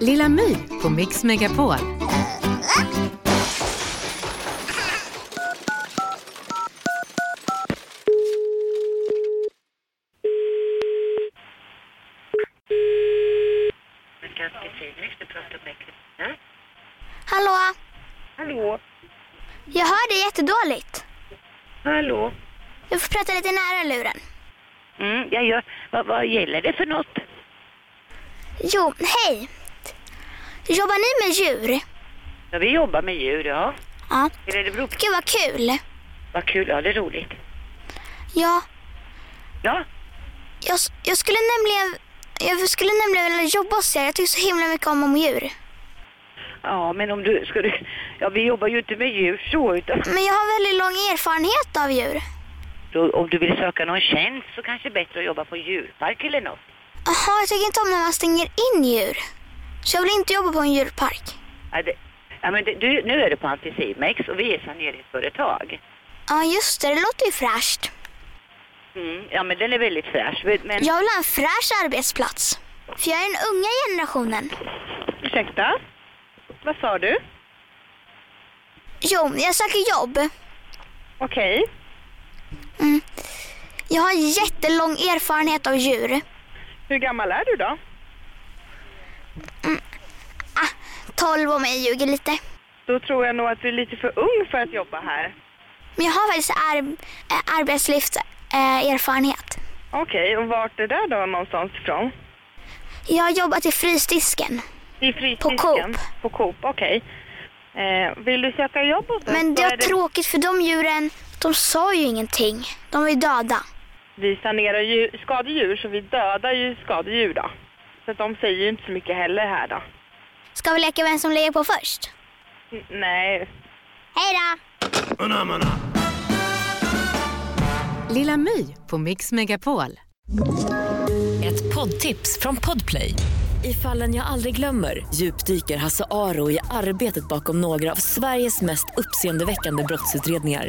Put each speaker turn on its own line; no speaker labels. Lilla My på Mix Megapol.
Hallå?
Hallå?
Jag hör dig jättedåligt.
Hallå?
Du får prata lite nära luren.
Mm, jag gör. Vad, vad gäller det för något?
Jo, hej. Jobbar ni med djur?
Ja, vi jobbar med djur, ja.
Ja.
Eller det beror på.
Gud vad kul.
Vad kul, ja det är roligt.
Ja,
Ja,
jag, jag skulle nämligen jag skulle nämligen vilja jobba hos er. Jag tycker så himla mycket om, om djur.
ja men om du, ska du... Ja, vi jobbar ju inte med djur så, utan
Men jag har väldigt lång erfarenhet av djur.
då, om du vill söka någon tjänst så kanske det är bättre att jobba på djurpark eller något.
Jaha, jag tycker inte om när man stänger in djur. Så jag vill inte jobba på en djurpark.
Ja, det, ja men det, du, nu är du på Anticimex och vi är saneringsföretag.
Ja, just det. Det låter ju fräscht.
Mm, ja, men den är väldigt fräsch. Men, men-
Jag vill ha en fräsch arbetsplats. För jag är den unga generationen.
Ursäkta? Vad sa du?
Jo, jag söker jobb.
Okej.
Jag har jättelång erfarenhet av djur.
Hur gammal är du då?
12 om jag ljuger lite.
Då tror jag nog att du är lite för ung för att jobba här.
Men jag har faktiskt ar- eh, arbetslivserfarenhet.
Okej, och vart är det då någonstans ifrån?
Jag har jobbat i frysdisken.
I frysdisken?
Coop.
På Coop, okej. Eh, vill du söka jobb hos oss?
Men
så
det var
är det-
tråkigt för de djuren, de sa ju ingenting. De var ju döda.
Vi sanerar ju skadedjur, så vi dödar ju skadedjur då. Så att de säger ju inte så mycket heller här då.
Ska vi leka vem som lägger på först?
N- nej,
Hej då!
Lilla My på Mix Megapol.
Ett poddtips från Podplay. I fallen jag aldrig glömmer djupdyker Hasse Aro i arbetet bakom några av Sveriges mest uppseendeväckande brottsutredningar.